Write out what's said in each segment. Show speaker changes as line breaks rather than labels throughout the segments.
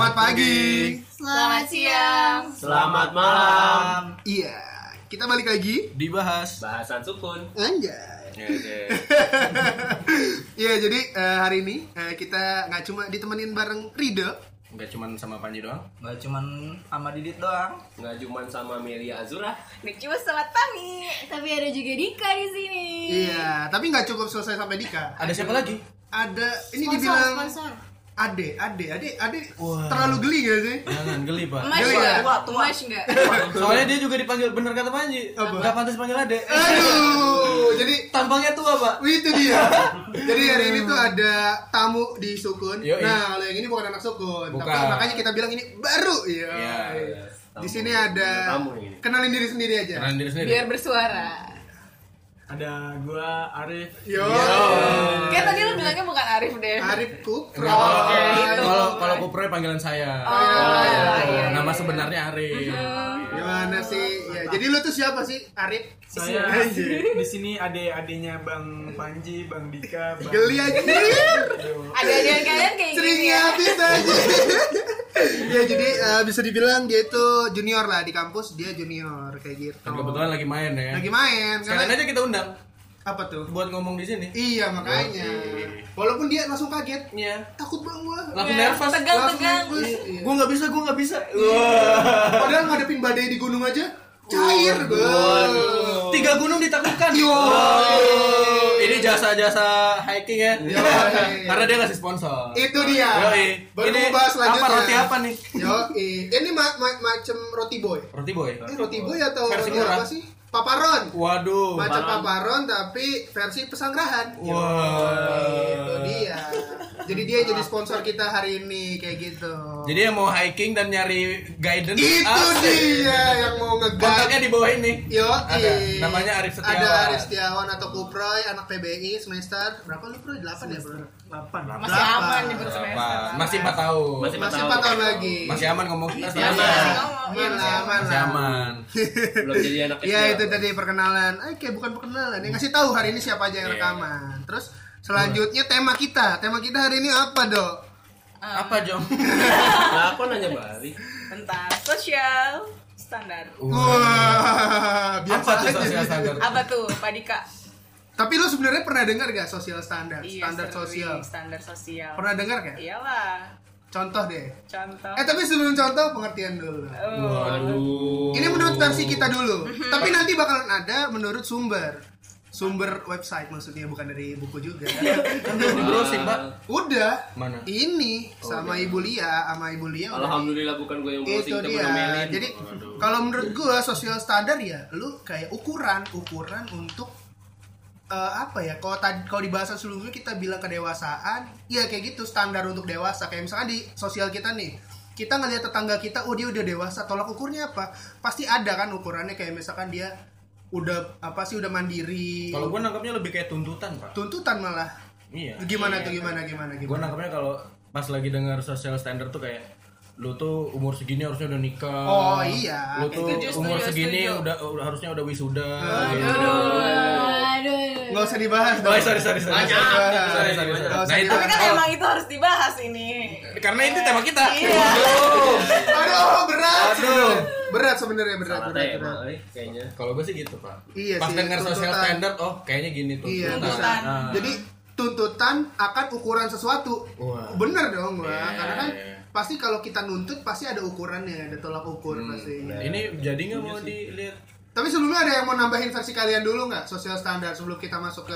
pagi.
Selamat siang.
Selamat malam.
Iya, kita balik lagi.
Dibahas.
Bahasan sukun.
Anjay.
Ya,
Iya, jadi eh, hari ini eh, kita nggak cuma ditemenin bareng Rida.
Gak cuman sama Panji doang. Gak cuman sama Didit doang.
Nggak cuma sama Melia Azura.
Nggak cuma selamat pagi, tapi ada juga Dika di sini.
Iya, tapi nggak cukup selesai sampai Dika.
Ada siapa lagi?
Ada ini
Sponsor,
dibilang
sponsor.
Ade, Ade, Ade, Ade
Wah.
terlalu geli gak sih?
Jangan geli, Pak.
Mas
Dewa.
enggak?
Tua, tua.
Mas enggak?
Soalnya dia juga dipanggil bener kata Panji.
Apa?
Gak pantas panggil Ade.
Aduh, jadi
Tampangnya tua, Pak.
Wih, itu dia. Jadi hari ini tuh ada tamu di Sukun.
Yoi.
Nah, kalau yang ini bukan anak Sukun, tapi
Bukan.
makanya kita bilang ini baru. Iya.
Iya,
iya.
Di
Tamu.
sini ada
Tamu yang ini.
kenalin diri sendiri aja.
Kenalin diri sendiri.
Biar bersuara.
Ada gua Arif.
Iya.
Yo.
Kan tadi lu bilangnya bukan Arif
Eh,
deh.
Arif Kupro.
Kalau
gitu.
kalau kalau Kuproy panggilan saya.
Oh, iya.
Nama sebenarnya Arif.
Mm-hmm. Gimana sih? Ya, jadi lu tuh siapa sih, Arif?
Iya.
Saya
Anjir.
di sini adik-adiknya Bang Panji, Bang Dika, Bang
Iya.
Geli anjir.
Ada adegan kalian kayak gini
Seringnya
ya.
habis aja. ya jadi eh, bisa dibilang dia itu junior lah di kampus dia junior kayak gitu.
Dan kebetulan lagi main ya.
lagi main
Sekalian
karena
aja kita undang
apa tuh?
buat ngomong di sini.
Iya makanya. Walaupun dia langsung kaget,
Iya.
takut banget gua.
Langsung
Iya,
nervous.
Langsung
Tegang-tegang.
nervous. Iya.
Gue nggak bisa, gue nggak bisa. Wah.
Padahal ngadepin badai di gunung aja cair gua.
Tiga gunung ditaklukkan.
Yo.
Ini jasa-jasa hiking ya.
Yo. iya,
Karena dia ngasih sponsor.
Itu dia.
Yoi.
Iya. Baru
Ini
bahas
apa
lanjutnya.
roti apa nih?
Yo, ini ma- ma- macam roti boy.
Roti boy.
Ini roti boy atau roti
Versi murah.
apa sih? Paparon.
Waduh.
Macam paparon tapi versi pesanggrahan.
Wah.
Itu dia. Jadi dia jadi sponsor kita hari ini kayak gitu.
Jadi yang mau hiking dan nyari guidance.
itu
asik.
dia yang mau nge
Kontaknya di bawah ini.
Yo,
Ada. Namanya Arif Setiawan.
Ada Arif Setiawan atau Kuproy, anak PBI semester berapa lu Proy? 8 ya, Bro?
8.
Masih
Berapa?
aman nih
Apa?
bersemester.
Masih 4 tahun.
Masih
Masih Empat
4 tahun
tahun.
lagi.
Masih aman ngomong kita
Masih
sekarang.
aman.
Aman lah, aman
Masih
lah.
aman.
Belum jadi anak
Iya, itu tadi perkenalan. Ah, Oke, bukan perkenalan. Yang ngasih tahu hari ini siapa aja yang
Iya.
rekaman. Terus selanjutnya tema kita. Tema kita hari ini apa, Dok?
Apa, Jong?
Nah, aku nanya balik.
Tentang sosial standar.
Uh. Wah,
Apa
biasa
tuh sosial
aja.
standar?
Apa tuh, Pak Dika?
Tapi lu sebenarnya pernah dengar gak sosial standar?
Iya,
standar
sering.
sosial.
Iya, Standar sosial.
Pernah dengar gak?
Iyalah.
Contoh deh.
Contoh.
Eh, tapi sebelum contoh pengertian dulu.
Oh.
Aduh.
Ini menurut versi kita dulu. Tapi nanti bakalan ada menurut sumber. Sumber website maksudnya bukan dari buku juga.
Kan belum di browsing, Pak.
Udah.
Mana?
Ini sama Ibu Lia, sama Ibu Lia. udah.
Alhamdulillah bukan gue yang browsing
Itu
temen
dia.
Melin.
Jadi kalau menurut gua sosial standar ya lu kayak ukuran, ukuran untuk eh, apa ya? Kalau tadi kalau di bahasa sebelumnya kita bilang kedewasaan, ya kayak gitu standar untuk dewasa. Kayak misalnya di sosial kita nih, kita ngelihat tetangga kita, oh dia udah dewasa, tolak ukurnya apa? Pasti ada kan ukurannya kayak misalkan dia udah apa sih udah mandiri.
Kalau gue nangkapnya lebih kayak tuntutan, Pak.
tuntutan malah.
Iya.
Gimana tuh gimana gimana
gue
gimana?
nangkepnya kalau pas lagi dengar social standard tuh kayak lu tuh umur segini harusnya udah nikah
Oh, iya.
lu tuh
Setuju,
umur
setuju,
segini
setuju.
udah udah- harusnya udah wisuda gitu.
Aduh.
Nggak usah dibahas dong.
oh sorry sorry sorry
Nggak usah dibahas.
sorry sorry, sorry.
Nggak usah
nah itu
Tapi kan emang itu harus dibahas ini.
karena itu tema kita
Iya.
Aduh.
Aduh oh, berat.
Aduh.
Berat sebenarnya berat
Salah
berat.
tema,
berat.
eh, kayaknya.
kalau gue sih gitu pak
Iya
pas
sih,
dengar social
tuntutan.
standard oh kayaknya gini tuh
Iya.
Tuntutan.
Nah.
Jadi tuntutan akan ukuran sesuatu.
Wah.
Bener dong gua.
Oh. Iya,
Karena kan
iya.
pasti kalau kita nuntut pasti ada ukurannya, ada tolak ukur
Hmm,
pasti.
Nah, ini jadi nggak mau dilihat
Tapi sebelumnya ada yang mau nambahin versi kalian dulu nggak sosial standar sebelum kita masuk ke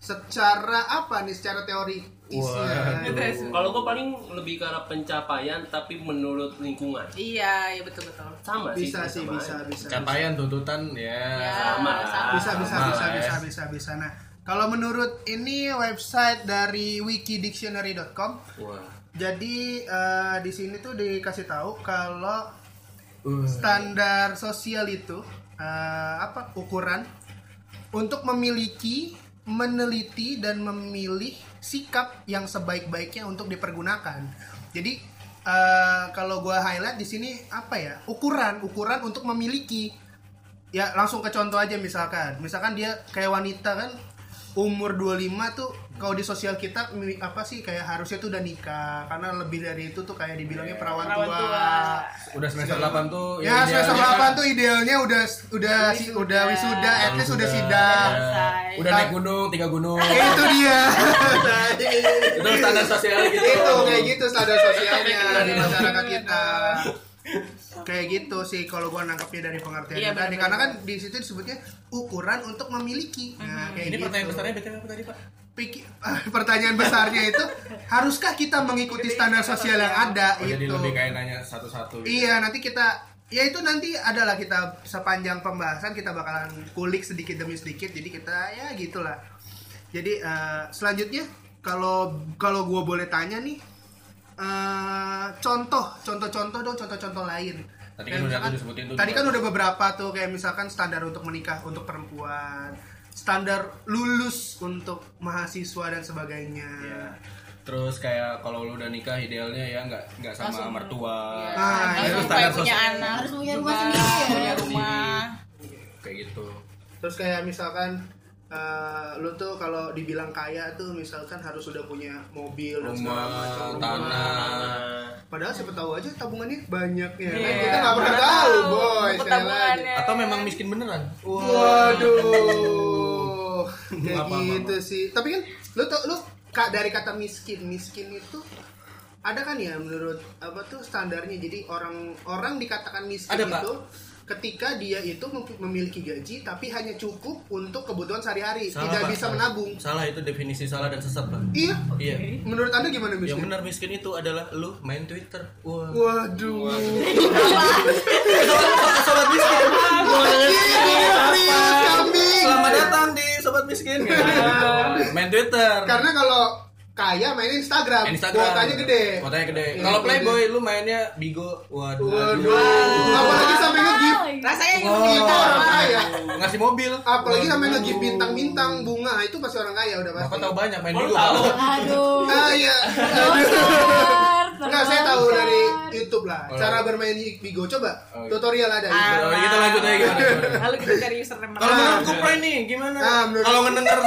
secara apa nih secara teori
Waduh.
Kalau gue paling lebih ke arah pencapaian tapi menurut lingkungan.
Iya, iya betul betul.
Sama sih.
bisa sih
sama
bisa
aja.
bisa
capaian tuntutan ya
Eh,
Sama lah.
bisa bisa
Sama
bisa
lah ya.
bisa bisa bisa nah kalau menurut ini website dari wikidictionary.com
wah
Jadi eh, di sini tuh dikasih tahu kalau
Uh.
standar sosial itu eh, apa ukuran untuk memiliki, meneliti dan memilih sikap yang sebaik-baiknya untuk dipergunakan. Jadi eh, kalau gua highlight di sini apa ya? Ukuran, ukuran untuk memiliki. Ya langsung ke contoh aja misalkan. Misalkan dia kayak wanita kan umur 25 tuh kalau di sosial kita mi- apa sih kayak harusnya tuh udah nikah karena lebih dari itu tuh kayak dibilangnya perawan,
Iya, Perawan
tua.
tua.
Udah semester 8 tuh
Ya, semester
idealnya-
8 tuh idealnya udah udah si- udah wisuda, Iya. at least udah sidang.
selesai.
Udah naik gunung, tiga gunung.
Ya, itu dia.
itu standar sosial gitu.
itu kayak gitu standar sosialnya di masyarakat kita. gitu. Kayak gitu sih kalau gua nangkepnya dari pengertian
Iya,
tadi
benar-benar.
karena kan di situ disebutnya ukuran untuk memiliki. Nah, kayak
Ini
gitu.
pertanyaan besarnya BTW apa tadi, Pak?
Piki- pertanyaan besarnya itu haruskah kita mengikuti standar sosial yang ada Gitu.
Oh, jadi
itu?
lebih kayak nanya satu-satu gitu.
Iya, nanti kita ya itu nanti adalah kita sepanjang pembahasan kita bakalan kulik sedikit demi sedikit jadi kita ya gitulah. Jadi eh, selanjutnya kalau kalau gua boleh tanya nih eh, contoh contoh-contoh dong contoh-contoh lain.
Tadi
Kayak
kan udah
misalkan-
aku sebutin tuh
Tadi
dua.
kan udah beberapa tuh kayak misalkan standar untuk menikah untuk perempuan, standar lulus untuk mahasiswa dan sebagainya.
Iya. Terus kayak kalau lu udah nikah idealnya ya nggak nggak sama
Langsung-
mertua.
Ah,
Harus
itu
sampai
standar
punya
sosial.
anak.
Harus punya rumah
juga,
sendiri ya.
Punya rumah.
Kayak gitu.
Terus kayak misalkan eh, lu tuh kalau dibilang kaya tuh misalkan harus sudah punya mobil dan segala macam
Rumah,
rumah.
tanah,
Padahal siapa tahu aja tabungannya banyak ya. kan?
Iya,
Kita nggak pernah
nggak
tahu,
tahu
boy. sekali lagi.
pertambangannya.
atau memang miskin beneran?
Waduh. Kayak
Apa, apa,
gitu sih. Tapi kan lu tuh lu ka- dari kata miskin, miskin itu ada kan ya menurut apa tuh standarnya. Jadi orang orang dikatakan miskin
Ada, Pak.
itu ketika dia itu mem- memiliki gaji tapi hanya cukup untuk kebutuhan sehari-hari,
Salah,
tidak
Pak.
bisa menabung.
Salah itu definisi salah dan sesat, Pak.
Iya.
Iya.
Menurut Anda gimana
Yang
miskin?
benar miskin itu adalah lu main Twitter. Wah.
Waduh.
Sobat miskin.
Iya, Serius, kambing.
Selamat datang di sobat miskin. main Twitter.
Karena kalau kaya main Instagram,
Instagram.
kuotanya gede.
Kuotanya gede.
Iya,
Kalau
gede.
Playboy lu mainnya Bigo. Waduh.
Waduh. Apalagi sampai nge-gift.
Rasanya
Wow.
gitu.
Itu orang kaya.
Ngasih mobil.
Apalagi sampai nge-gift bintang-bintang bunga itu pasti orang kaya udah
Bapak
pasti.
tahu banyak main
Baru
Bigo.
tahu.
Aduh.
Ah iya.
Oh,
Enggak, saya tahu
Iya.
dari YouTube lah.
Oh.
Cara bermain Bigo coba
Oh, iya.
tutorial ada. di YouTube.
Kalau kita lanjut aja gimana? Nah. gimana?
Lalu kita cari username.
Kalau
Ah.
menurut Kupray nih gimana?
Ah, menurut-
Kalau ngedenger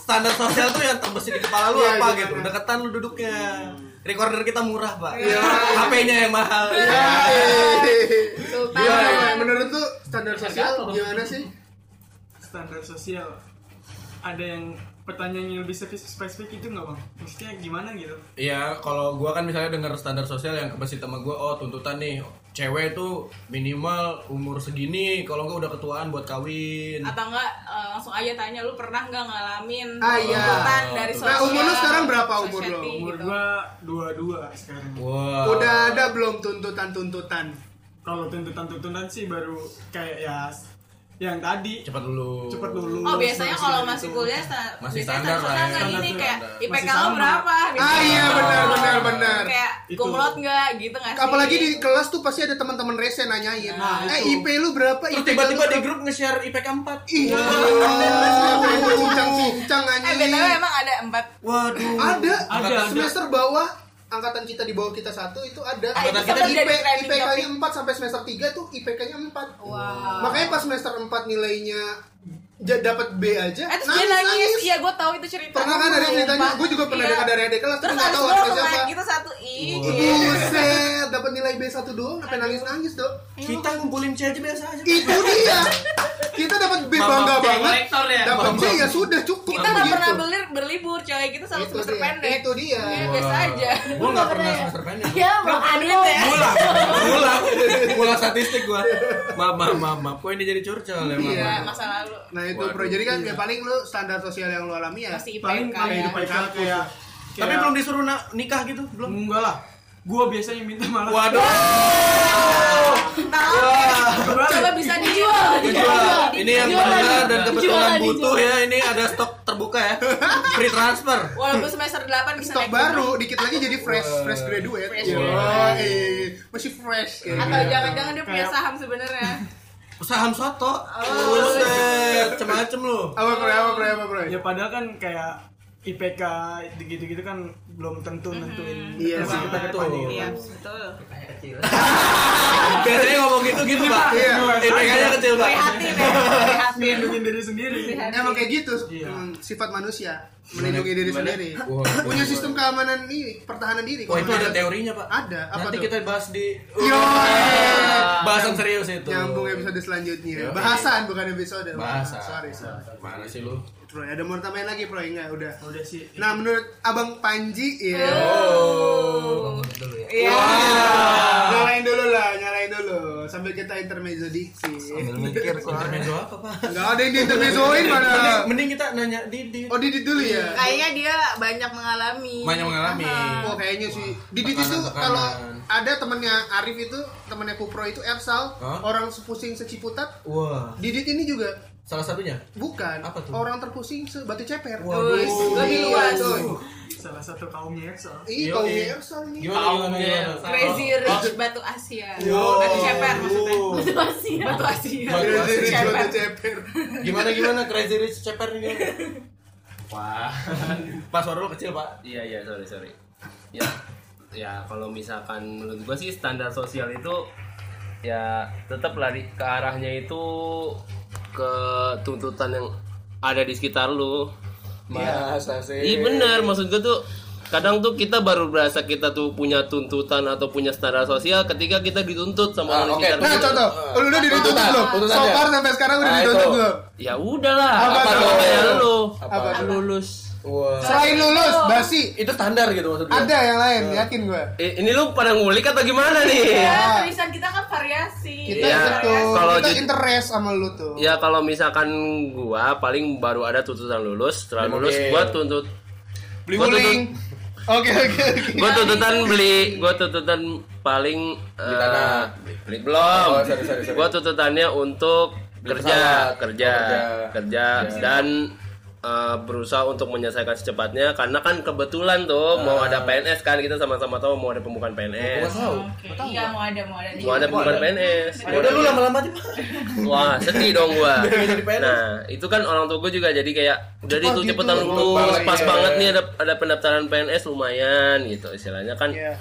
standar sosial tuh yang terbesit di kepala lu
Iya,
apa
gimana?
gitu? Deketan lu duduknya. Recorder kita murah, Pak.
Iya.
HP-nya yang mahal.
Yeay.
Sultan.
iya. Gimana, menurut tuh standar sosial gimana sih?
standar sosial ada yang pertanyaan yang lebih spesifik, spesifik itu nggak bang maksudnya gimana gitu
Iya, kalau gua kan misalnya dengar standar sosial yang kebesit sama gua, oh tuntutan nih cewek tuh minimal umur segini, kalau enggak udah ketuaan buat kawin.
Atau enggak eh, langsung aja tanya lu pernah enggak ngalamin
Ah, iya.
tuntutan dari
Nah,
sosial?
umur lu sekarang berapa umur lu?
society
umur
gitu.
gua dua dua sekarang
Wah.
Udah ada belum tuntutan-tuntutan?
kalau tuntutan tuntutan sih baru kayak ya s- yang tadi
Cepat dulu.
cepet lulus
Oh biasanya
masih
kalau
dari
masih
itu.
kuliah sta-
Masih
biasanya
standar lah ya.
standar gini
Standar.
kayak
Masih
IPK lo
sama.
berapa?
Ah
Biasanya.
iya benar benar benar.
Kayak
Itu.
kumlot enggak gitu enggak sih?
Apalagi di kelas tuh pasti ada teman-teman rese nanyain.
Nah,
eh
itu.
IP lu berapa?
Terus
IP
tiba-tiba
lu
di
berapa?"
grup nge-share IPK 4.
Ih, siapa yang mau cincang-cincang
Eh BTW
anjing?
emang ada empat
Waduh.
Ada,
Ada,
ada
ada.
semester bawah angkatan kita di bawah kita satu itu ada
Ah, itu
Angkatan
sempet
kita
jadi
IP,
trending
IPK-nya 4 sampai semester 3 tuh IPK-nya 4
Wow.
makanya pas semester 4 nilainya ja- dapat B aja
Eh terus dia nangis, iya gue tahu itu cerita
Pernah kan ada ceritanya? Gua juga pernah
Iya.
dengar dari adik kelas, tapi
Terus
nggak
abis
tahu
gue
anaknya
langsung
siapa.
naik gitu Iya. satu I
Buset, dapat nilai B1 doang, sampai nangis-nangis, Dok.
Kita ngumpulin C aja biasa aja.
Itu dia. Kita dapat B bangga
Mama,
banget.
kolektor ya?
Dapat C ya sudah cukup.
Kita gak
begitu.
pernah belir, berlibur coy, kita selalu
gitu. Itu
semester
dia,
pendek
itu dia.
Iya, Biasa aja
Gua enggak pernah semester pendek.
Ya, makanya ya.
Pulang, pulang, pulang statistik gua. Maaf, maaf, maaf, maaf. Kok ini jadi curcol ya, maaf.
Iya.
Nah,
maaf.
masa lalu
Nah itu
Waduh.
bro, jadi kan ya paling lu standar sosial yang lu alami ya
Masih
paling
IPK
paling
ya
IPK kayak, kayak
Iya, Tapi
Iya.
belum disuruh na- nikah gitu, belum.
enggak lah gua biasanya minta malah
Waduh.
Nah, Coba bisa dijual
Kejual. Ini yang
Kejualan.
mendengar dan kebetulan
Kejualan,
butuh ya, ini ada stok terbuka ya. Free transfer.
Walaupun semester 8 bisa
stok
naik
baru, dikit lagi jadi fresh fresh graduate.
Fresh
Iya.
graduate.
eh, masih fresh kayak
Atau
gitu.
jangan-jangan dia punya
Kayak-
saham sebenarnya
Saham
Oh.
soto. Buset, macem-macem lu.
Apa bro, apa bro, apa bro?
Iya. ya padahal kan kayak IPK gitu-gitu kan belum tentu nentuin
Iya
prestasi
sih,
kita ke depan
betul.
ini.
Iya, betul.
Biasanya ngomong gitu gitu pak.
Iya.
IPK-nya kecil pak.
Prihatin ya, prihatin.
Melindungi diri sendiri.
Emang kayak gitu
Iya.
hmm, sifat manusia melindungi diri
Gimana?
sendiri.
Wah,
Punya
gimana?
sistem keamanan ini, pertahanan diri.
Wah Oh, itu
Kalau
ada
menurut-
teorinya pak.
Ada, apa
Nanti
tuh?
kita bahas di. Uh,
Yo, eh.
Bahasan serius itu.
Nyambung episode selanjutnya.
Yo.
Bahasan bukan episode.
Bahasa.
Sorry, sorry.
Mana sih lu?
Troy, ada mau tambahin lagi, Troy? Enggak, udah.
Udah sih.
Nah, menurut Abang Panji, ya.
Oh.
dulu ya
Iya.
Nyalain dulu lah, nyalain dulu. Sambil kita intermezzo diksi.
sambil mikir soalnya
Intermezzo apa pak?
Enggak ada yang diintermezzoin pada.
Mending, mending kita nanya Didi.
Oh, Didit dulu ya?
Kayaknya dia banyak mengalami.
Banyak mengalami.
Oh, kayaknya sih. Didit itu
Tekanan-tekanan.
kalau ada temennya Arif itu, temennya Kupro itu Ersal,
Hah?
orang sepusing seciputat.
Wah,
Didit ini juga
salah satunya.
bukan
Apa tuh?
orang terpusing sebatu ceper.
Waduh.
Wis,
Lebih
iya,
luas.
coy.
Salah satu kaumnya ya, Excel.
Iya,
Yo,
kaumnya
iya.
Ersal nih.
Gimana gimana? gimana?
Crazy Rich Batu Asia.
Yo.
Batu ceper maksudnya.
Masih
Batu Asia.
Batu
Crazy Rich
Ceper.
Batu ceper.
Gimana gimana Crazy Rich Ceper ini?
Wah.
Pas suara lu kecil pak.
Iya iya sorry sorry. Ya ya kalau misalkan menurut gua sih standar sosial itu ya tetap lari ke arahnya itu ke tuntutan yang ada di sekitar lu.
Masa Ya, sih?
Iya benar, maksud gue tuh kadang tuh kita baru berasa kita tuh punya tuntutan atau punya standar sosial ketika kita dituntut sama
Ah,
orang
oke.
sekitar
Nah,
kita.
contoh, lu udah dituntut
Tuntutan,
belum?
tuntutan
So
ya?
far sampai sekarang udah
Ah,
dituntut
itu.
belum?
Ya udahlah,
Apa tuh?
apa kayak lu?
Apa
Apa
Lu
tuh?
Lulus.
Wah.
Selain lulus, basi
Itu standar gitu maksudnya.
ada yang lain, yakin gue.
Eh, ini lu pada ngulik atau gimana nih?
Ya, tulisan kita kan variasi.
Kita
Iya.
itu,
Kalau
kita
jadi-
interest sama lu tuh.
Ya kalau misalkan gua paling baru ada tuntutan lulus, setelah
Ya,
Beli
lulus
mobil.
gua tuntut
Beli
gua tuntut-
guling. Oke oke oke.
Gua tuntutan beli, gua tuntutan paling eh,
tanah.
beli belum.
Oh, sorry, sorry, sorry.
Gua tuntutannya untuk kerja,
pesawat.
kerja,
Oh, kerja.
kerja dan eh, berusaha untuk menyelesaikan secepatnya karena kan kebetulan tuh mau ada PNS kan kita sama-sama tahu mau ada pembukaan
Ah. Oh, Gua
PNS.
tahu.
Oke, Iya, mau ada, mau ada.
Mau ada pembukaan PNS.
Ya udah lu lama-lama aja pak.
Wah, sedih dong gua.
Biar jadi PNS.
Nah, itu kan orang tua gua juga jadi kayak udah
Cepat
itu
gitu,
cepetan
cepat
lulus,
banget,
pas
iya.
banget
gitu.
nih ada ada pendaftaran PNS lumayan gitu istilahnya kan.
Iya.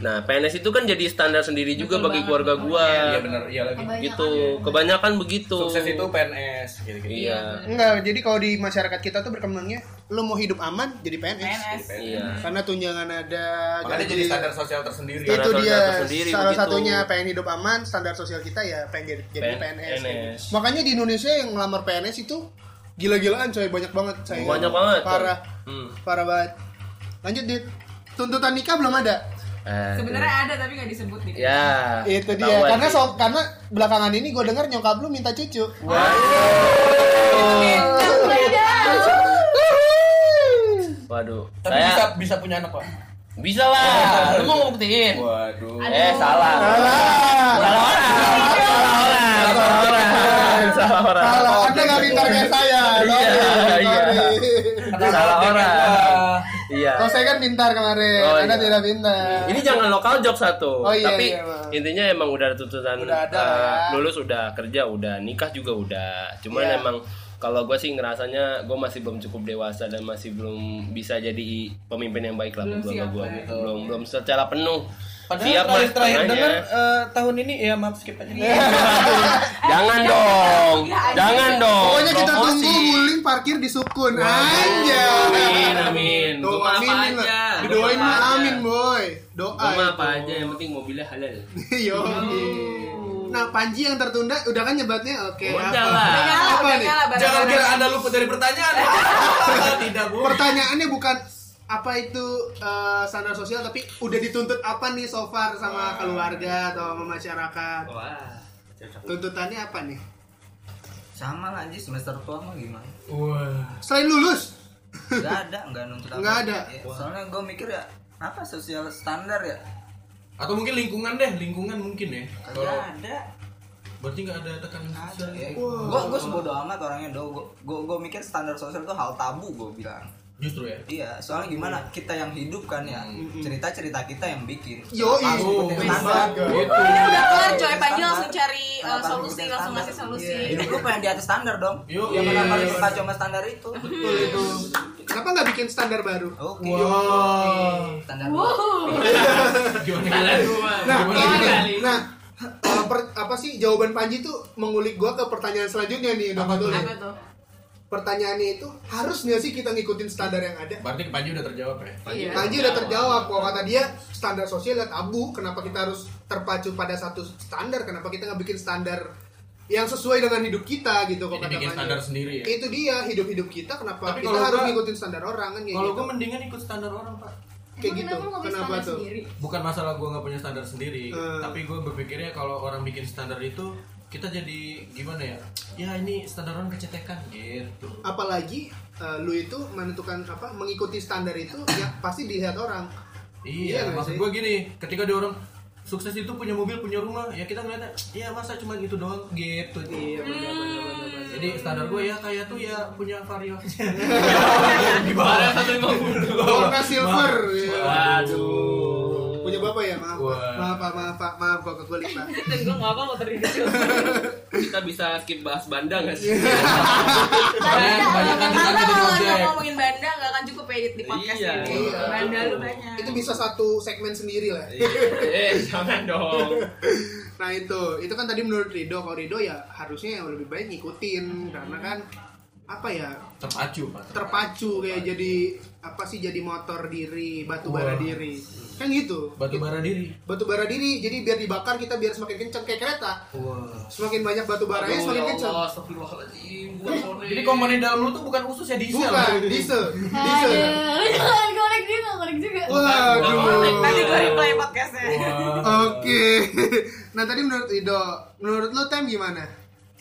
Nah, PNS itu kan jadi standar sendiri juga
Betul
bagi
banget.
keluarga gua.
Iya benar, iya lagi.
Gitu. Kebanyakan begitu.
Sukses itu PNS gitu-gitu.
Iya.
Enggak, jadi kalau di masyarakat kita tuh berkembangnya lu mau hidup aman jadi PNS.
PNS.
Iya.
Karena tunjangan ada
Makanya jadi Iya. standar sosial tersendiri.
Kan itu
Standar
dia
tersendiri
salah
begitu.
satunya pengen hidup aman standar sosial kita ya pengen jadi, jadi
Pen-
PNS,
PNS.
gitu. makanya di Indonesia yang ngelamar PNS itu gila-gilaan coy banyak banget coy
Banyak banget, coy.
parah
Hmm.
parah banget lanjut dit tuntutan nikah belum ada
Eh,
Sebenarnya ada tapi nggak disebut nih.
ya.
itu dia
ketahuan
karena
sih.
so- karena belakangan ini gue dengar nyokap lu minta cucu
Waduh.
Tapi
saya
bisa
bisa,
bisa punya anak pak.
lah. Lu mau ngebuktiin?
Waduh.
Eh, salah.
Alah,
Salah orang. Salah orang. Salah orang. Salah orang.
alah, anda nggak pintar kayak saya
Iya,
sorry,
iya.
sorry.
Salah orang. Iya.
Kalau saya kan pintar kemarin,
Oh,
anda
iya.
tidak pintar.
Ini jangan lokal job satu,
Oh, iya,
tapi
iya, Bang.
intinya emang udah ada tuntutan
Udah ada,
eh,
ya.
lulus udah kerja udah nikah juga udah. Cuman
Iya.
emang kalau gue sih ngerasanya gue masih belum cukup dewasa dan masih belum bisa jadi pemimpin yang baik lah
Belum
belum
siap,
gue
ya.
gitu. belum belum secara penuh
Padahal
siap
terakhir,
Mas,
terakhir
tengahnya.
dengar eh, tahun ini ya maaf skip aja.
jangan dong jangan dong
Iya, Pokoknya kita
Promosi.
tunggu guling parkir di sukun aja.
amin amin gue
Doain
apa
lah.
aja
Doain
Gua
mah
apa
amin
aja.
boy. Doa.
Gua
Ah,
mah
itu.
apa aja yang penting mobilnya halal
Yo. Nah, Panji yang tertunda udah kan nyebatnya oke.
udah
apa?
lah
Nyala,
Apa nih?
nyala,
Jangan
barang-barang.
kira anda luput dari pertanyaan. Tidak bu.
Pertanyaannya bukan apa itu eh, standar sosial tapi udah dituntut apa nih so far sama keluarga atau sama masyarakat?
Wah.
Tuntutannya apa nih?
sama lah anjir semester tua mah gimana
Selain lulus.
nggak ada nggak nuntut apa
Nggak ada.
Ya, soalnya gue mikir ya apa sosial standar ya
Atau mungkin lingkungan deh, lingkungan mungkin ya.
kagak
Oh.
Kalau
ada
berarti nggak ada tekanan
Nggak ada
sosial. gitu?
ya gue gue sebodoh amat orangnya do gue gue mikir standar sosial tuh hal tabu gue bilang
Justru ya.
Iya, soalnya gimana kita yang hidup kan ya cerita-cerita kita yang bikin.
Yo,
Harus
oh,
ikutin
bisa
standar.
Gitu.
Udah udah kelar coy,
Standar.
Panji langsung cari uh,
Kenapa harus
solusi,
ikutin
langsung
standar?
ngasih solusi.
Iya. Hidup lu pengen di atas standar dong.
Yo, iya.
yang
Iya.
kenapa harus suka cuma standar itu?
Betul itu. Kenapa nggak bikin standar baru?
Oh,
Oke.
Wow.
Standar
Iya. Gimana?
iya.
Nah,
Gimana?
eh,
kali?
nah eh, per- apa sih jawaban Panji tuh mengulik gua ke pertanyaan selanjutnya nih, Dok dulu.
Apa tuh?
Pertanyaannya itu harus nggak sih kita ngikutin standar yang ada?
Berarti Panji udah terjawab ya?
Iya.
Panji Nah, udah terjawab kalau kata dia standar sosial dan tabu. Kenapa kita harus terpacu pada satu standar? Kenapa kita nggak bikin standar yang sesuai dengan hidup kita gitu? Kalau
Jadi
kata
bikin
Panji.
standar sendiri ya?
Itu dia hidup hidup kita. Kenapa
Tapi
kita
kalau
harus
gua-
ngikutin standar orang kan? kayak
Kalau
gitu.
gue mendingan ikut standar orang pak.
kayak
Emang
gitu.
Kenapa lu
Kenapa
nggak bisa
tuh?
sendiri?
Bukan masalah gue nggak punya standar sendiri,
Hmm.
tapi gue berpikirnya kalau orang bikin standar itu kita jadi gimana ya? Ya ini standar orang kecetekan gitu.
apalagi eh, lu itu menentukan apa mengikuti standar itu ya pasti dilihat orang Iya,
Iya,
nggak
maksud
sih?
gue gini, ketika dia orang sukses itu punya mobil, punya rumah, ya kita ngeliatnya, ya masa cuma gitu doang gitu.
iya benar benar benar, benar.
Jadi standar gue ya kayak tuh ya punya vario.
Barang 150.
warna silver ya.
Waduh.
punya bapak ya maaf Pak. maaf
Wah.
pak maaf pak maaf kok kegulik pak
Gue ngapa lo terdiri
Kita bisa skip bahas bandang gak sih?
Kalian kebanyakan ditanya kan
Karena
di ya.
kalau
Gojek.
udah ngomongin Banda gak akan cukup edit di podcast
Iya.
ini
Iya.
Banda lu banyak
itu bisa satu segmen sendiri lah
Iya.
eh, jangan dong.
nah itu itu kan tadi menurut Rido kalau Rido ya harusnya yang lebih baik ngikutin karena kan apa ya
Terpacu pak.
terpacu kayak jadi apa sih jadi motor diri batu bara
Wah.
diri kan gitu
Batu bara diri.
batu bara diri jadi biar dibakar kita biar semakin kencang kayak kereta
Wah.
semakin banyak batu baranya
Aduh,
semakin
ya
kencang
Allah, astagfirullahaladzim, gua sore.
Jadi komponen dalam lu tuh bukan usus ya diesel.
bukan diesel diesel
Aduh, jangan korek dia nggak korek juga.
Oh. waduh
Nanti gue replay podcastnya
Wah.
oke nah tadi menurut Ido menurut lu tem gimana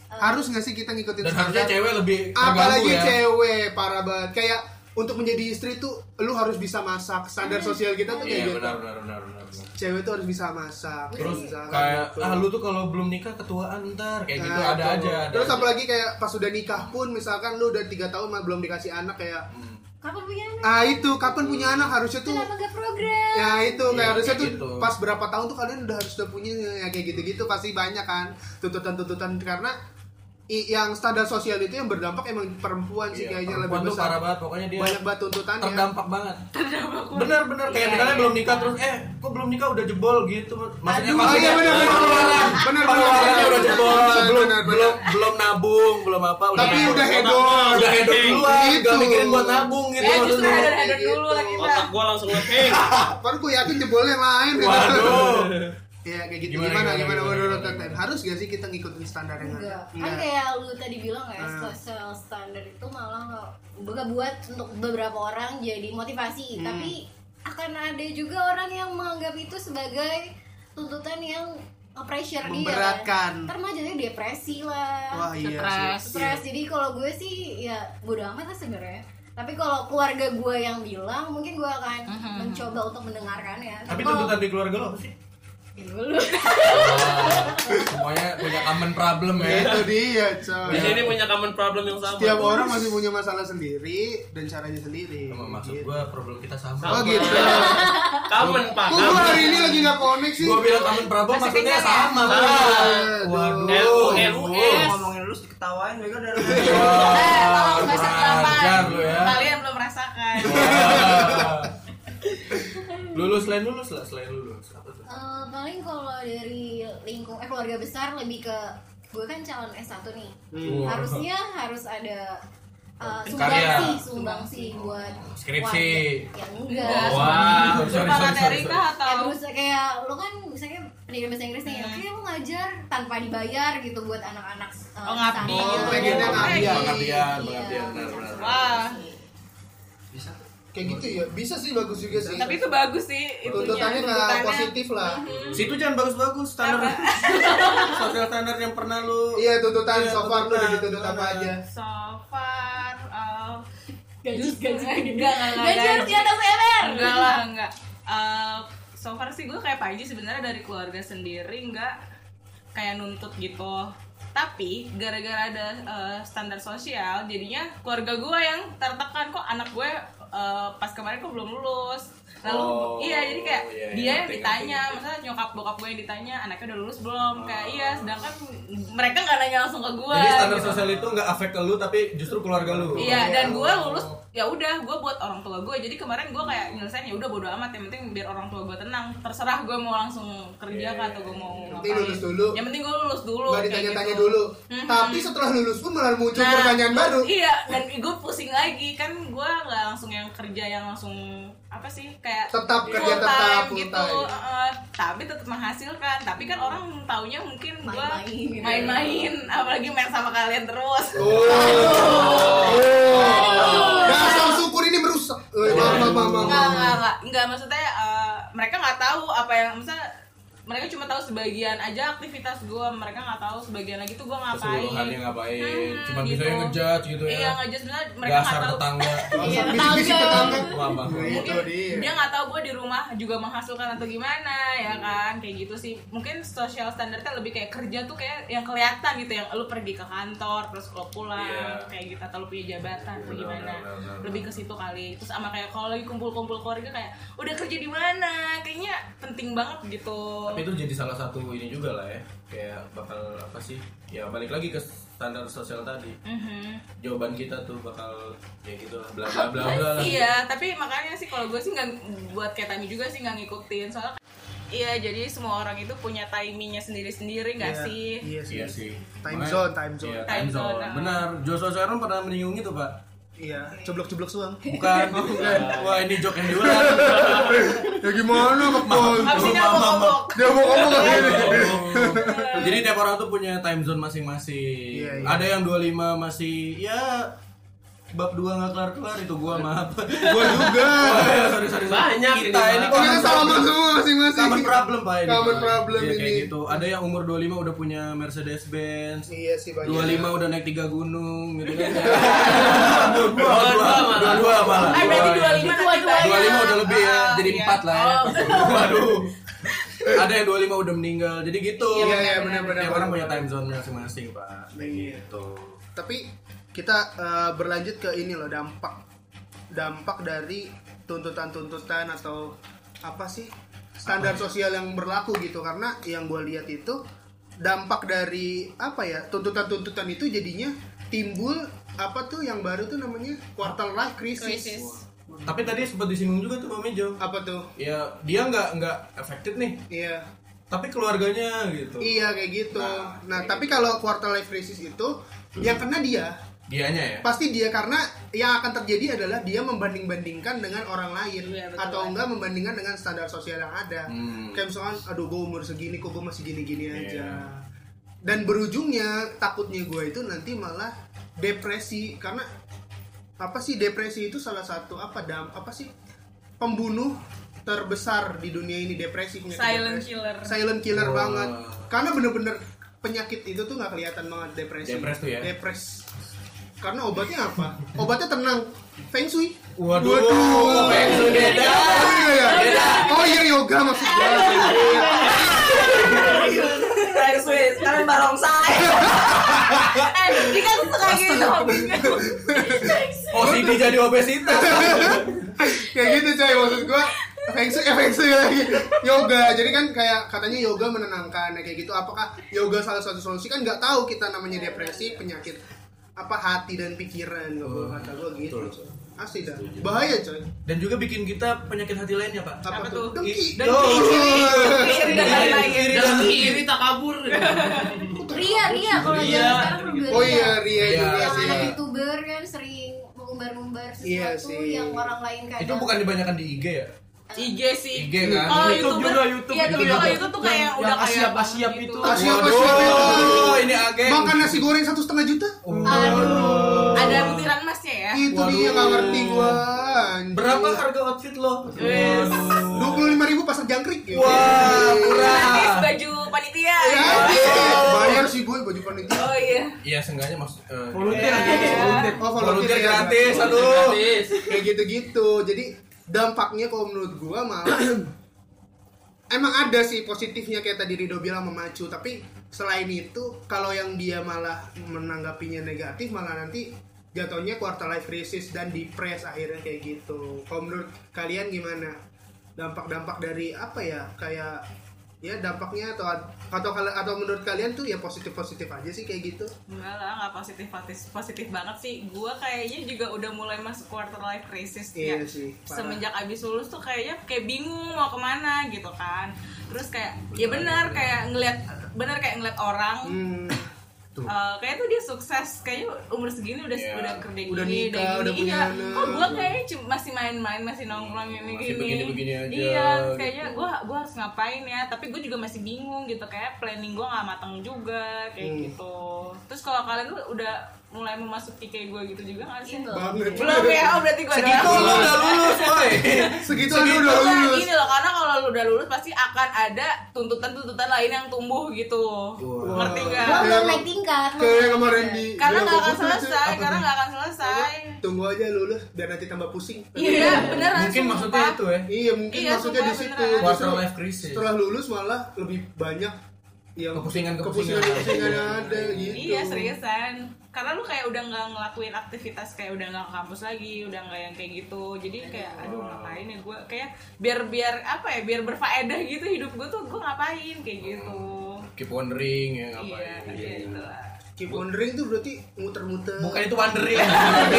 harus nggak sih kita ngikutin
Dan harusnya cewek lebih ya.
apalagi
terganggu
cewek parah banget kayak untuk menjadi istri tuh lu harus bisa masak standar sosial kita tuh kayak
Iya
gitu
benar benar benar benar. benar.
cewek tuh harus bisa masak
Terus
bisa
kayak
gitu.
ah lu tuh kalau belum nikah ketuaan ntar kayak gitu
Nah,
ada
itu.
aja. ada
terus
aja.
apalagi kayak pas udah nikah pun misalkan lu udah tiga tahun mah belum dikasih anak kayak
Hmm.
Kapan punya anak?
ah itu kapan punya anak harusnya tuh
Kenapa nggak program?
Ya itu kayak
Iya,
harusnya
kayak
tuh
gitu.
pas berapa tahun tuh kalian udah harus udah punya ya kayak gitu-gitu pasti banyak kan tuntutan-tuntutan karena i- yang standar sosial itu yang berdampak emang perempuan sih
Iya,
kayaknya
perempuan
lebih
tuh parah
besar.
banget pokoknya dia
Banyak banget tuntutannya.
terdampak banget. Bener-bener kayak
Iya,
misalnya belum nikah terus eh kok belum nikah udah jebol gitu. Maksudnya
Oh iya benar benar benar
pengeluarannya udah jebol. Belum
benar
belum belum nabung, belum apa
Tapi udah hedon.
Udah hedon duluan,
Gitu.
gak mikirin buat nabung gitu
Ya justru
maksudnya.
header-header dulu lah kita
Otak gua langsung ngeping.
Baru gue yakin jebol yang lain gitu.
Waduh.
Ya kayak gitu
Gimana,
gimana
gimana,
gimana
gimana,
menurut
gimana,
Teten? Harus gak sih kita ngikutin standar yang ada? Iya.
Enggak. Kan kayak lu tadi bilang ya,
Ah.
social standard itu malah nggak- nggak buat untuk beberapa orang jadi
Hmm.
motivasi, tapi akan ada juga orang yang menganggap itu sebagai tuntutan yang pressure dia. kan.
Memberatkan.
Ntar mah jadinya depresi lah.
Wah iya
Stres.
sih.
stres jadi kalau gue sih ya bodo amat lah sebenarnya tapi kalau keluarga gue yang bilang mungkin gue akan
Hmm.
mencoba untuk mendengarkan ya
Tapi
kalau
tuntutan di keluarga lo apa sih?
Ya,
Iya,
dulu
Iya.
Semuanya punya common problem ya.
Itu dia, coy.
Di sini punya common problem yang sama.
Setiap orang masih punya masalah sendiri dan caranya sendiri.
Sama maksud
Gitu.
gue problem kita
Oh
sama.
gitu.
Common, Pak.
Kok gue hari ini lagi gak connect sih?
Gue bilang common problem maksudnya
ya?
sama.
Ah.
Pak.
Aduh.
Waduh.
LUS.
ngomongin lu diketawain bego dari
Eh, tolong bahasa
Ajar
delapan
lu ya.
Kalian belum merasakan
lulus selain lulus lah selain lulus apa tuh
eh, paling kalau dari lingkung eh keluarga besar lebih ke gue kan calon S1 nih
Hmm.
harusnya harus ada eh,
Karya.
sumbangsi sumbangsi buat
Skripsi. Oh.
keluarga. ya enggak
Wah.
Wah.
Cuma materi kah
kayak
atau
terus kayak lo kan misalnya pendidikan bahasa Inggris nih,
Hmm.
kayak lo ngajar tanpa dibayar gitu buat anak-anak uh,
Oh, ngabdi
pesantren.
gitu. Oh, pengennya ngabdi.
Iya,
Pengabdian, pengabdian,
iya.
benar, benar.
Wah
Kayak gitu ya. Bisa sih bagus juga sih.
Tapi itu bagus sih itunya,
tuntutannya nggak positif lah.
situ jangan bagus-bagus standar sosial standar yang pernah lu
Iya tuntutan
Iya,
so far lu
tuntutan,
udah dituntut apa
tuntutan.
aja.
So far uh,
Gaji, gaji, gaji,
Enggak, enggak, enggak,
gaji harus
gaji.
di atas MR.
Enggak lah, enggak Uh, So far sih gue kayak Panji sebenarnya dari keluarga sendiri enggak kayak nuntut gitu tapi gara-gara ada uh, standar sosial jadinya keluarga gue yang tertekan kok anak gue uh, pas kemarin kok belum lulus lalu
Oh,
iya jadi kayak
iya, iya,
dia yang
ngerti,
ditanya
ngerti, ngerti.
misalnya nyokap bokap gue yang ditanya anaknya udah lulus belum kayak iya sedangkan mereka nggak nanya langsung ke gue
Jadi standar
gitu.
sosial itu nggak afek ke lu tapi justru keluarga lu.
Gitu.
Iya, dan gue lulus ya udah gue buat orang tua gue jadi kemarin gue kayak nyelesain ya udah bodo amat yang penting biar orang tua gue tenang terserah gue mau langsung kerja kah atau gue mau
penting lulus dulu.
yang penting gue lulus dulu
Gak
kayak
ditanya-tanya
gitu.
dulu.
Mhm.
Tapi setelah lulus pun malah muncul
Nah,
pertanyaan baru.
iya dan gue pusing lagi kan gue nggak langsung yang kerja yang langsung apa sih kayak
Tetap
full
kerja
time
tetap full
gitu
time.
eh, tapi tetap menghasilkan tapi kan orang taunya mungkin gue
Main-main.
main-main apalagi main sama kalian terus
Oh, Dasar syukur ini merusak. Eh, maaf, maaf, maaf, maaf,
Gitu.
Enggak,
maaf.
enggak, enggak. Enggak, maksudnya eh, mereka nggak tahu apa yang misalnya mereka cuma tahu sebagian aja aktivitas gue, mereka nggak tahu sebagian lagi tuh gue ngapain.
Keseluruhannya ngapain?
Hmm,
Cuma
gitu.
bisa ngejudge gitu ya.
Iya ngejudge sebenarnya mereka
Dasar
nggak tahu.
tetangga.
Iya,
Bisik-bisik tetangga.
Wah, Bang.
Iya, Itu
Dia
Iya.
dia.
nggak tahu gue di rumah juga menghasilkan atau gimana ya
Hmm.
kan kayak gitu sih. Mungkin social standarnya lebih kayak kerja tuh kayak yang kelihatan gitu yang lu pergi ke kantor terus lo pulang
Iya.
kayak gitu atau lu punya jabatan atau
Benar,
gimana.
benar, benar, benar.
Lebih ke situ kali. Terus sama kayak kalau lagi kumpul-kumpul keluarga kayak udah kerja di mana? Kayaknya penting banget gitu.
Tapi itu jadi salah satu ini juga lah ya. Kayak bakal apa sih? Ya balik lagi ke standar sosial tadi.
Mhm.
Jawaban kita tuh bakal ya gitu lah bla bla bla bla. lah.
Iya, tapi makanya sih kalau gue sih nggak buat kayak Tami juga sih nggak ngikutin soalnya. Iya, jadi semua orang itu punya timingnya sendiri-sendiri nggak
Iya.
sih?
Iya sih.
Iya sih.
Time
Makanya-
zone, time zone.
Iya,
Time
time
zone,
zone.
ah.
Benar. Joshua Sharon pernah menyinggung itu, Pak.
Iya, ceblok-ceblok suang.
Bukan. bukan. Wah, ini joke yang diulang. Gitu.
Ya gimana kepol?
Abis ini aku ngobok.
Dia mau ngomong ke sini.
Jadi tiap orang tuh punya time zone
Iya, iya.
masing-masing. Ada yang 25 masih ya bab 2 nggak kelar-kelar itu gua maaf.
Gua juga.
sorry, sorry, sorry.
Banyak
Kita
ini,
ini
Pak.
Oh, kita
common
sama
problem.
semua masing-masing.
Common problem Pak ini.
Common
Pak.
problem
Iya, kayak
ini.
gitu. Ada yang umur 25 udah punya Mercedes Benz.
Iya sih banyak.
25 udah naik 3 gunung gitu kan.
Dua-dua
22
malah.
22 malah.
Ah, berarti 25 nanti banyak.
25 udah lebih ya,
Ah,
jadi
iya.
4 lah ya.
Oh,
Waduh. Ada yang 25 udah meninggal. Jadi gitu.
Iya, iya, benar-benar.
Tiap orang punya time zone masing-masing, Pak. Kayak
Iya.
gitu.
Tapi kita eh, berlanjut ke ini loh dampak dampak dari tuntutan-tuntutan atau apa sih standar sosial yang berlaku gitu karena yang gue lihat itu dampak dari apa ya tuntutan-tuntutan itu jadinya timbul apa tuh yang baru tuh namanya quarter life
Krisis.
crisis.
Tapi tadi sempat disinggung juga tuh Bang Mejo.
Apa tuh?
Ya, dia nggak nggak affected nih,
Iya.
tapi keluarganya gitu.
Iya kayak gitu.
Nah,
Nah, tapi kalau quarter life crisis itu yang kena dia
Dianya ya.
pasti dia karena yang akan terjadi adalah dia membanding-bandingkan dengan orang lain
Iya, betul.
atau enggak membandingkan dengan standar sosial yang ada
Hmm. Iya.
kayak misalkan aduh gue umur segini kok gue masih gini-gini aja dan berujungnya takutnya gue itu nanti malah depresi karena apa sih depresi itu salah satu apa dam apa sih pembunuh terbesar di dunia ini depresi penyakit
Silent
depresi.
killer.
silent killer
Wah.
banget karena bener-bener penyakit itu tuh nggak kelihatan banget depresi
Depres tuh ya?
depres karena obatnya apa obatnya tenang feng shui
Waduh, Feng Shui beda.
Oh iya, iya. oh iya yoga maksudnya
Oh,
Sekarang barongsai.
Eh, ini kan suka gitu hobinya.
Oh, Siti jadi obesitas.
kayak gitu coy maksud gua feng shui eh feng shui lagi yoga jadi kan kayak katanya yoga menenangkan ya kayak gitu apakah yoga salah satu solusi kan nggak tahu kita namanya depresi penyakit apa hati dan pikiran kalau kata gua gitu
Oh,
coy.
Betul.
asli dah bahaya coy
Dan juga bikin kita penyakit hati lainnya, Pak.
apa,
Apa
tuh
tuh?
dengki Oh.
Dan iri.
Iri dan lain-lain. Iya.
Iri dan
Dan iri tak kabur.
Ria, Ria kalau
Ria.
zaman sekarang berubah.
oh iya ria
Iya.
juga
Yang
sih
anak youtuber kan sering mengumbar-umbar
Iya
sesuatu
sih.
yang orang lain kadang.
Itu bukan dibanyakan di IG ya?
IG sih.
IG kan?
Kalau
YouTube
YouTuber,
juga, YouTube
Iya, tapi
juga.
kalau YouTube tuh kayak
Yang-
udah
yang
kayak gitu.
asiap-asiap
banget
itu.
Asiap- Siapa,
Waduh,
siapa itu?
ini agen.
makan nasi goreng satu setengah juta
Aduh. Ada butiran emasnya ya.
itu
Eh, Waduh.
dia nggak ngerti gua anjing.
Berapa harga outfit lo?
Wes.
dua puluh lima ribu pasar jangkrik ya
Wah,
Gratis
murah.
baju panitia.
Ya,
Iya.
Waduh.
bayar sih boy baju panitia
Oh iya.
Iya, seenggaknya maksud eh,
Volunteer aja, guys, volunteer.
Oh,
volunteer
ya,
gratis,
gratis.
aduh.
kayak gitu-gitu jadi dampaknya kalau menurut gua malah emang ada sih positifnya kayak tadi Rido bilang memacu tapi selain itu kalau yang dia malah menanggapinya negatif malah nanti jatuhnya quarter life crisis dan depres akhirnya kayak gitu kalau menurut kalian gimana dampak-dampak dari apa ya kayak ya dampaknya atau atau kal- atau menurut kalian tuh ya positif positif aja sih kayak gitu
Enggak lah, nggak positif positif banget sih. Gua kayaknya juga udah mulai masuk quarter life crisis
Iya
ya.
sih, parah.
Semenjak abis lulus tuh kayaknya kayak bingung mau kemana gitu kan. Terus kayak ya benar kayak ngeliat benar kayak ngeliat orang
hmm,
eh, kayak tuh dia sukses kayaknya umur segini udah
Iya.
udah kerja gini
Udah nikah,
gini.
udah punya
iya
anak.
kok gue kayaknya cuma masih main-main masih nongkrong ini
Masih begini-begini aja,
iya kayaknya
gitu.
gue gue harus ngapain ya tapi gue juga masih bingung gitu kayak planning gue nggak matang juga kayak
Hmm.
gitu terus kalau kalian tuh udah mulai memasuki kayak gue gitu juga nggak sih
banget
belum ya oh berarti gue
Segitu
Lu udah lulus, woi.
segitu aja udah lulus
Gini loh, karena kalau lu udah lulus pasti akan ada tuntutan-tuntutan lain yang tumbuh gitu. Ngerti gak?
Wah.
belum naik tingkat
kayak yang kemarin di
karena
di
nggak akan
Bogor tuh,
selesai
apa
karena
Iya, tuh?
nggak akan selesai
tunggu aja lulus biar nanti tambah pusing
iya beneran
Mungkin
sumpah.
maksudnya itu ya.
iya mungkin
Iya,
maksudnya di
sumpah,
situ
beneran.
Justru
Quarter life crisis.
setelah lulus malah lebih banyak yang
Kepusingan-kepusingan.
kepusingan yang ada gitu
iya seriusan karena lu kayak udah nggak ngelakuin aktivitas kayak udah nggak ke kampus lagi udah nggak yang kayak gitu jadi
Iya.
kayak aduh ngapain ya gue kayak biar biar apa ya biar berfaedah gitu hidup gue tuh gue ngapain
Oh.
kayak gitu
Keep wondering ya
iya
ngapain.
iya gitu lah
keep wondering tuh berarti muter-muter
Bukan itu wondering,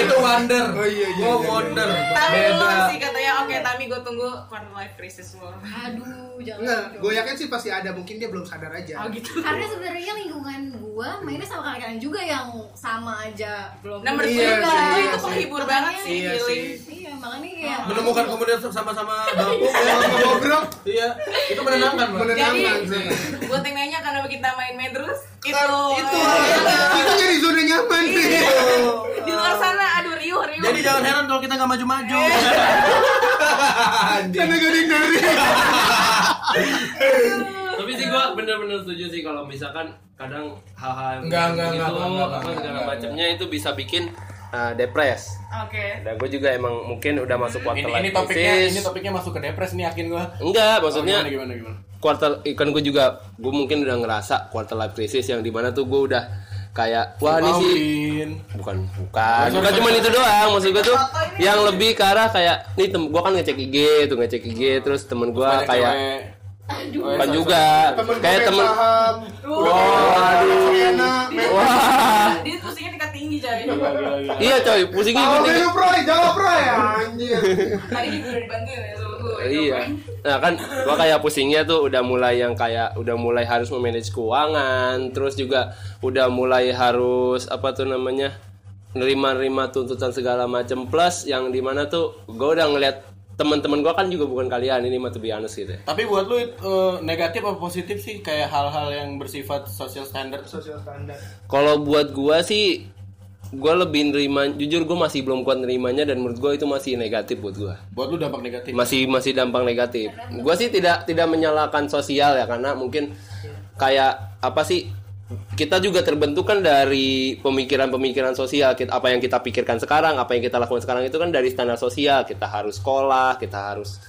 itu wonder.
Oh, iya, iya,
Oh,
iya,
wonder.
Tami lu
Beda.
sih katanya oke Tami gue tunggu quarter life crisis lu
Ya.
aduh jangan
Enggak,
dong.
gue yakin sih pasti ada, mungkin dia belum sadar aja.
oh gitu
karena sebenarnya lingkungan gua mainnya sama kalian juga yang sama aja belum
Iya,
nomor tujuh
sih,
Nah, gua
iya,
itu
sih. Oh.
penghibur banget sih
Iya,
healing
sih.
iya makanya kayak gitu.
Menemukan komunitas sama-sama gabung ya.
Ngobrol,
Iya, itu menenangkan, Bang.
menenangkan
Jadi-
sih.
buat yang nanya kenapa kita main-main terus itu
Itu, itu jadi zona nyaman sih.
Iya. di luar sana aduh riuh riuh
Jadi jangan heran kalau kita nggak maju-maju.
Eh.
Karena gak ada yang dari.
tapi sih gua bener-bener setuju sih kalau misalkan kadang hal-hal yang
Enggak, enggak,
gitu
enggak, enggak, enggak,
apa
enggak,
segala
enggak.
macamnya itu bisa bikin uh, depres
oke
dan gue Nah, juga emang mungkin udah masuk quarter
Ini,
life
ini topiknya,
crisis.
ini topiknya masuk ke depres nih yakin gua.
enggak
Oh,
maksudnya
gimana gimana gimana.
quarter eh, kan gue juga gue mungkin udah ngerasa quarter life crisis yang dimana tuh gue udah kayak wah ini sih
Pauline.
bukan bukan bukan cuma itu doang maksud gue tuh yang lebih ke arah kayak nih tem gue kan ngecek IG tuh ngecek IG terus temen gue
Banyak
kayak
cewek.
aduh
Oh,
bukan
sorry,
juga
Temen gue
kayak
yang
temen
paham.
waduh Iya,
Enak, men-
wah
dia pusingnya tingkat tinggi jadi
Gila, gila, gila.
iya coy pusingnya
Tahu
gini
deh lu, Proy, jawab Proy anjir.
tadi juga udah dibantuin ya sama gue
iya nah kan gua kayak pusingnya tuh udah mulai yang kayak udah mulai harus memanage keuangan terus juga udah mulai harus apa tuh namanya nerima-nerima tuntutan segala macem plus yang dimana tuh gua udah ngeliat teman-teman gua kan juga bukan kalian ini mah to be honest gitu ya
Tapi buat lu eh, negatif apa positif sih kayak hal-hal yang bersifat social standard?
Sosial standar.
kalau buat gua sih gua lebih nerima jujur gua masih belum kuat nerimanya dan menurut gua itu masih negatif buat gua
Buat lu dampak negatif.
masih masih dampak negatif. Gua sih tidak tidak menyalahkan sosial ya karena mungkin kayak apa sih kita juga terbentuk kan dari pemikiran-pemikiran sosial kita apa yang kita pikirkan sekarang apa yang kita lakukan sekarang itu kan dari standar sosial kita harus sekolah kita harus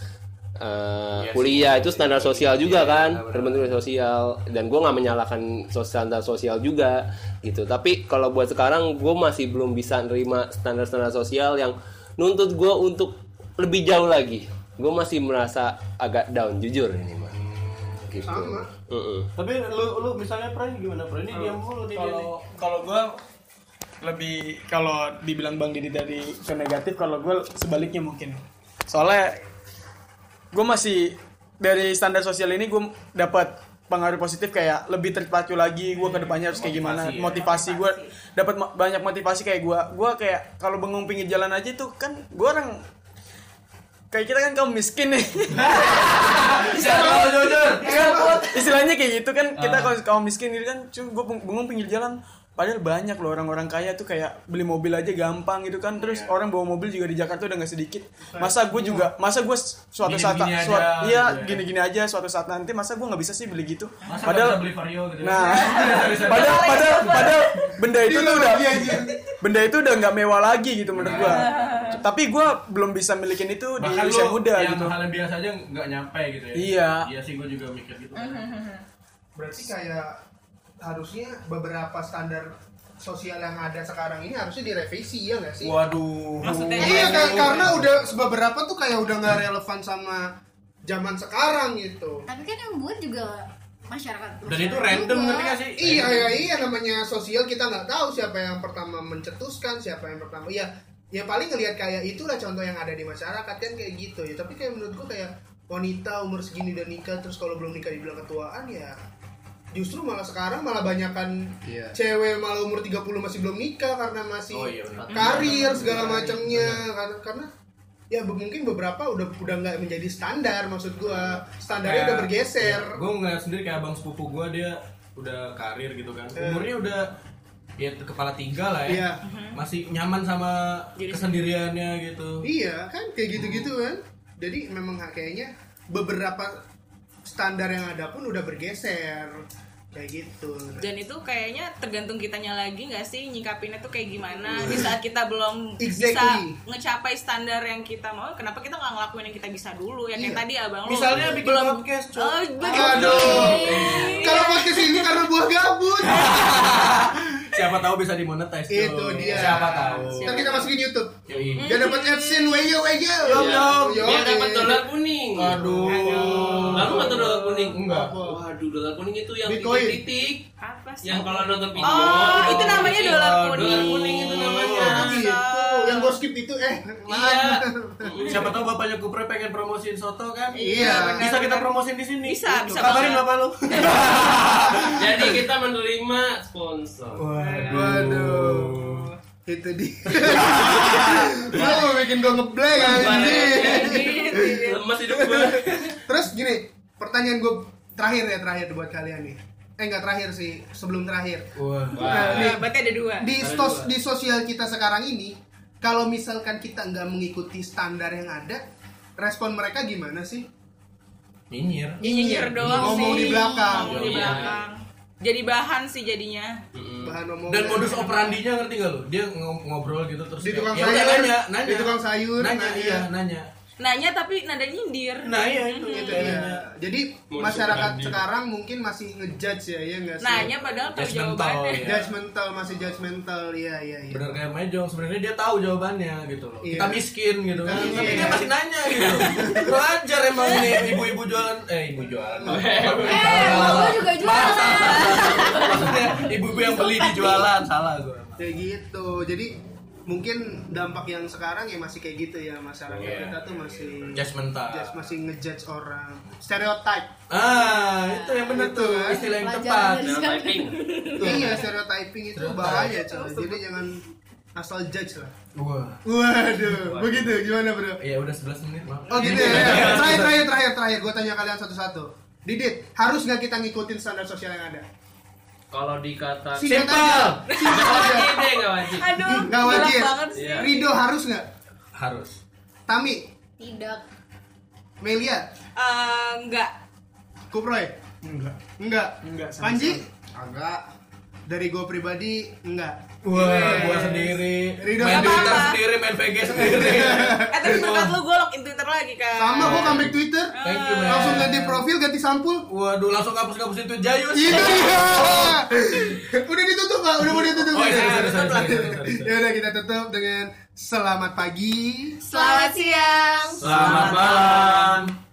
eh, kuliah itu standar sosial juga kan terbentuk dari sosial dan gue nggak menyalahkan sos- standar sosial juga gitu tapi kalau buat sekarang gue masih belum bisa nerima standar-standar sosial yang nuntut gue untuk lebih jauh lagi gue masih merasa agak down jujur ini mah gitu
Sama.
Mm-mm.
Tapi lu lu misalnya Pray gimana Pray? Ini diam mulu nih dia nih.
kalau kalau gue lebih kalau dibilang bang Didi dari ke negatif kalau gue sebaliknya mungkin soalnya gue masih dari standar sosial ini gue dapat pengaruh positif kayak lebih terpacu lagi gue kedepannya harus kayak gimana
ya.
motivasi gue dapat ma- banyak motivasi kayak gue gue kayak kalau bengong pinggir jalan aja tuh kan gue orang kayak kita kan kaum miskin nih
Kalau jujur.
istilahnya kayak gitu kan kita
Ah.
kalau kaum miskin gitu kan cuy gue bengong pinggir jalan padahal banyak loh orang-orang kaya tuh kayak beli mobil aja gampang gitu kan terus
Iya.
orang bawa mobil juga di Jakarta udah nggak sedikit masa gue juga masa gue suatu saat
Gini-gini aja,
suat- iya
gitu ya.
gini-gini aja suatu saat nanti masa gue nggak bisa sih beli gitu
Masa
padahal
beli Iya. Vario gitu.
nah padahal padahal padahal benda itu
Iya,
tuh udah
Iya,
benda itu udah nggak mewah lagi gitu menurut gue tapi gue belum bisa milikin itu di
Iya. Bahkan
usia
lu
muda
yang
gitu
hal yang biasa aja nggak nyampe gitu ya.
Iya.
Iya sih gua juga mikir gitu.
Mm-hmm. Berarti kayak harusnya beberapa standar sosial yang ada sekarang ini harusnya direvisi ya nggak sih?
Waduh.
maksudnya
Iya kayak karena udah beberapa tuh kayak udah nggak relevan sama zaman sekarang gitu
tapi kan yang buat juga
Dan
masyarakat
itu
masyarakat
random
juga.
ngerti gak sih?
Iya iya iya namanya sosial kita nggak tahu siapa yang pertama mencetuskan siapa yang pertama iya ya paling ngelihat kayak itulah contoh yang ada di masyarakat kan kayak gitu ya tapi kayak menurut gua kayak wanita umur segini dan nikah terus kalau belum nikah dibilang ketuaan ya justru malah sekarang malah banyakan
Iya.
cewek malah umur 30 masih belum nikah karena masih
Oh, iya, benar.
karir segala macamnya karena karena ya be- mungkin beberapa udah udah nggak menjadi standar maksud gua
Iya.
standarnya udah bergeser
gue nggak sendiri kayak abang sepupu gue dia udah karir gitu kan umurnya udah ya kepala tiga lah ya
Eh. Iya.
masih nyaman sama kesendiriannya gitu
Iya kan kayak gitu-gitu kan. Jadi memang kayaknya beberapa standar yang ada pun udah bergeser kayak gitu.
dan itu kayaknya tergantung kitanya lagi nggak sih nyikapinnya tuh kayak gimana di saat kita belum bisa
Exactly.
ngecapai standar yang kita mau kenapa kita nggak ngelakuin yang kita bisa dulu ya kayak
Iya.
tadi abang lu
misalnya bikin
belum
podcast Cok.
Oh, bener.
Aduh. Kalau podcast ini karena buah gabut.
siapa tahu bisa dimonetize Cok.
Itu dia.
siapa tahu
Ntar kita masukin YouTube.
Yoi.
Biar dapat adsense weyo weyo.
Iya.
Yo,
Dia
eh.
dapat dolar kuning.
aduh
Kamu nggak tahu dolar kuning?
enggak
Waduh, dolar kuning itu yang
Bitcoin.
titik-titik.
apa sih
Yang kalau nonton video.
oh
di
itu
bawah
namanya
titik.
dolar
Dolar
kuning Iya.
kuning itu namanya.
Oh, gitu. Yang gue skip itu eh.
Iya.
siapa tahu bapaknya kupre pengen promosiin soto kan
Iya.
bisa kita promosiin di sini
Bisa, bisa
kabarin
banget.
bapak lu
Jadi kita menerima sponsor.
Waduh. Itu dia. Lo mau bikin gue ngeblank anjing.
Gitu.
Lemas hidup gue.
Terus gini, pertanyaan gue terakhir ya terakhir buat kalian nih. Eh nggak terakhir sih, sebelum terakhir.
Wah.
Nah,
Nah,
nih,
berarti ada dua
di stos- di sosial kita sekarang ini, kalau misalkan kita nggak mengikuti standar yang ada, respon mereka gimana sih?
nyinyir
nyinyir doang
Iya, Ngomong
sih
di belakang.
Ngomong di
Iya.
belakang jadi bahan sih jadinya
Bahan omongan.
dan modus operandinya ngerti gak lu dia ng- ngobrol gitu terus
Di
kayak,
tukang
"Ya
sayur,
udah, nanya nanya
di tukang sayur,
nanya
nanya.
iya nanya
nanya tapi nada nyindir
nah iya itu
Gitu ya. Jadi
Modus
masyarakat
operandi.
sekarang mungkin masih ngejudge ya, ya nggak sih?
nanya padahal tahu
Judgmental,
jawabannya
iya.
ya.
Judgmental, masih judgmental, iya iya iya.
bener kayak Mejong sebenarnya dia tahu jawabannya gitu loh
Iya.
kita miskin gitu kan
Iya.
tapi dia masih nanya gitu kurang ajar emang nih ibu-ibu jualan eh ibu jualan
eh gua juga jualan
maksudnya ibu-ibu yang beli di jualan salah gue
kayak gitu jadi mungkin dampak yang sekarang ya masih kayak gitu ya masyarakat
Iya.
kita tuh masih
judgmental
judge- masih ngejudge orang stereotype
ah itu yang bener tuh
Betul, kan?
istilah yang tepat
Pelajaran dari
Jangan typing.
iya stereotyping itu bahaya coy jadi jangan asal judge lah
wah
waduh begitu gimana bro
ya udah 11 menit maaf
oh gitu ya terakhir terakhir terakhir terakhir gue tanya kalian satu-satu Didit, harus nggak kita ngikutin standar sosial yang ada?
Kalau dikata
Singkat aja. Singkat aja.
wajib deh nggak wajib.
aduh
Nggak
gelap
wajib.
banget sih
Iya.
Rido harus nggak?
harus
Tami,
tidak
Melia,
Eh, enggak
Kuproy?
Enggak.
Enggak.
Enggak sama.
Panji?
Agak
Dari gue pribadi, enggak.
Wah, gua sendiri
Iya. Ridho
main
apa-apa?
Twitter sendiri, main VG sendiri.
eh tapi berkat lu gue login twitter lagi
Eh.
kan
Iya. Sama gua comeback Twitter.
Thank you, man.
Langsung ganti profil, ganti sampul.
Waduh, langsung hapus-hapus itu Jayus.
Itu dia. Udah ditutup nggak? Udah mau ditutup.
Oh,
Udah.
iya, sorry, sorry, sorry, sorry, sorry, sorry.
Ya udah kita tutup dengan selamat pagi.
selamat siang
Selamat malam.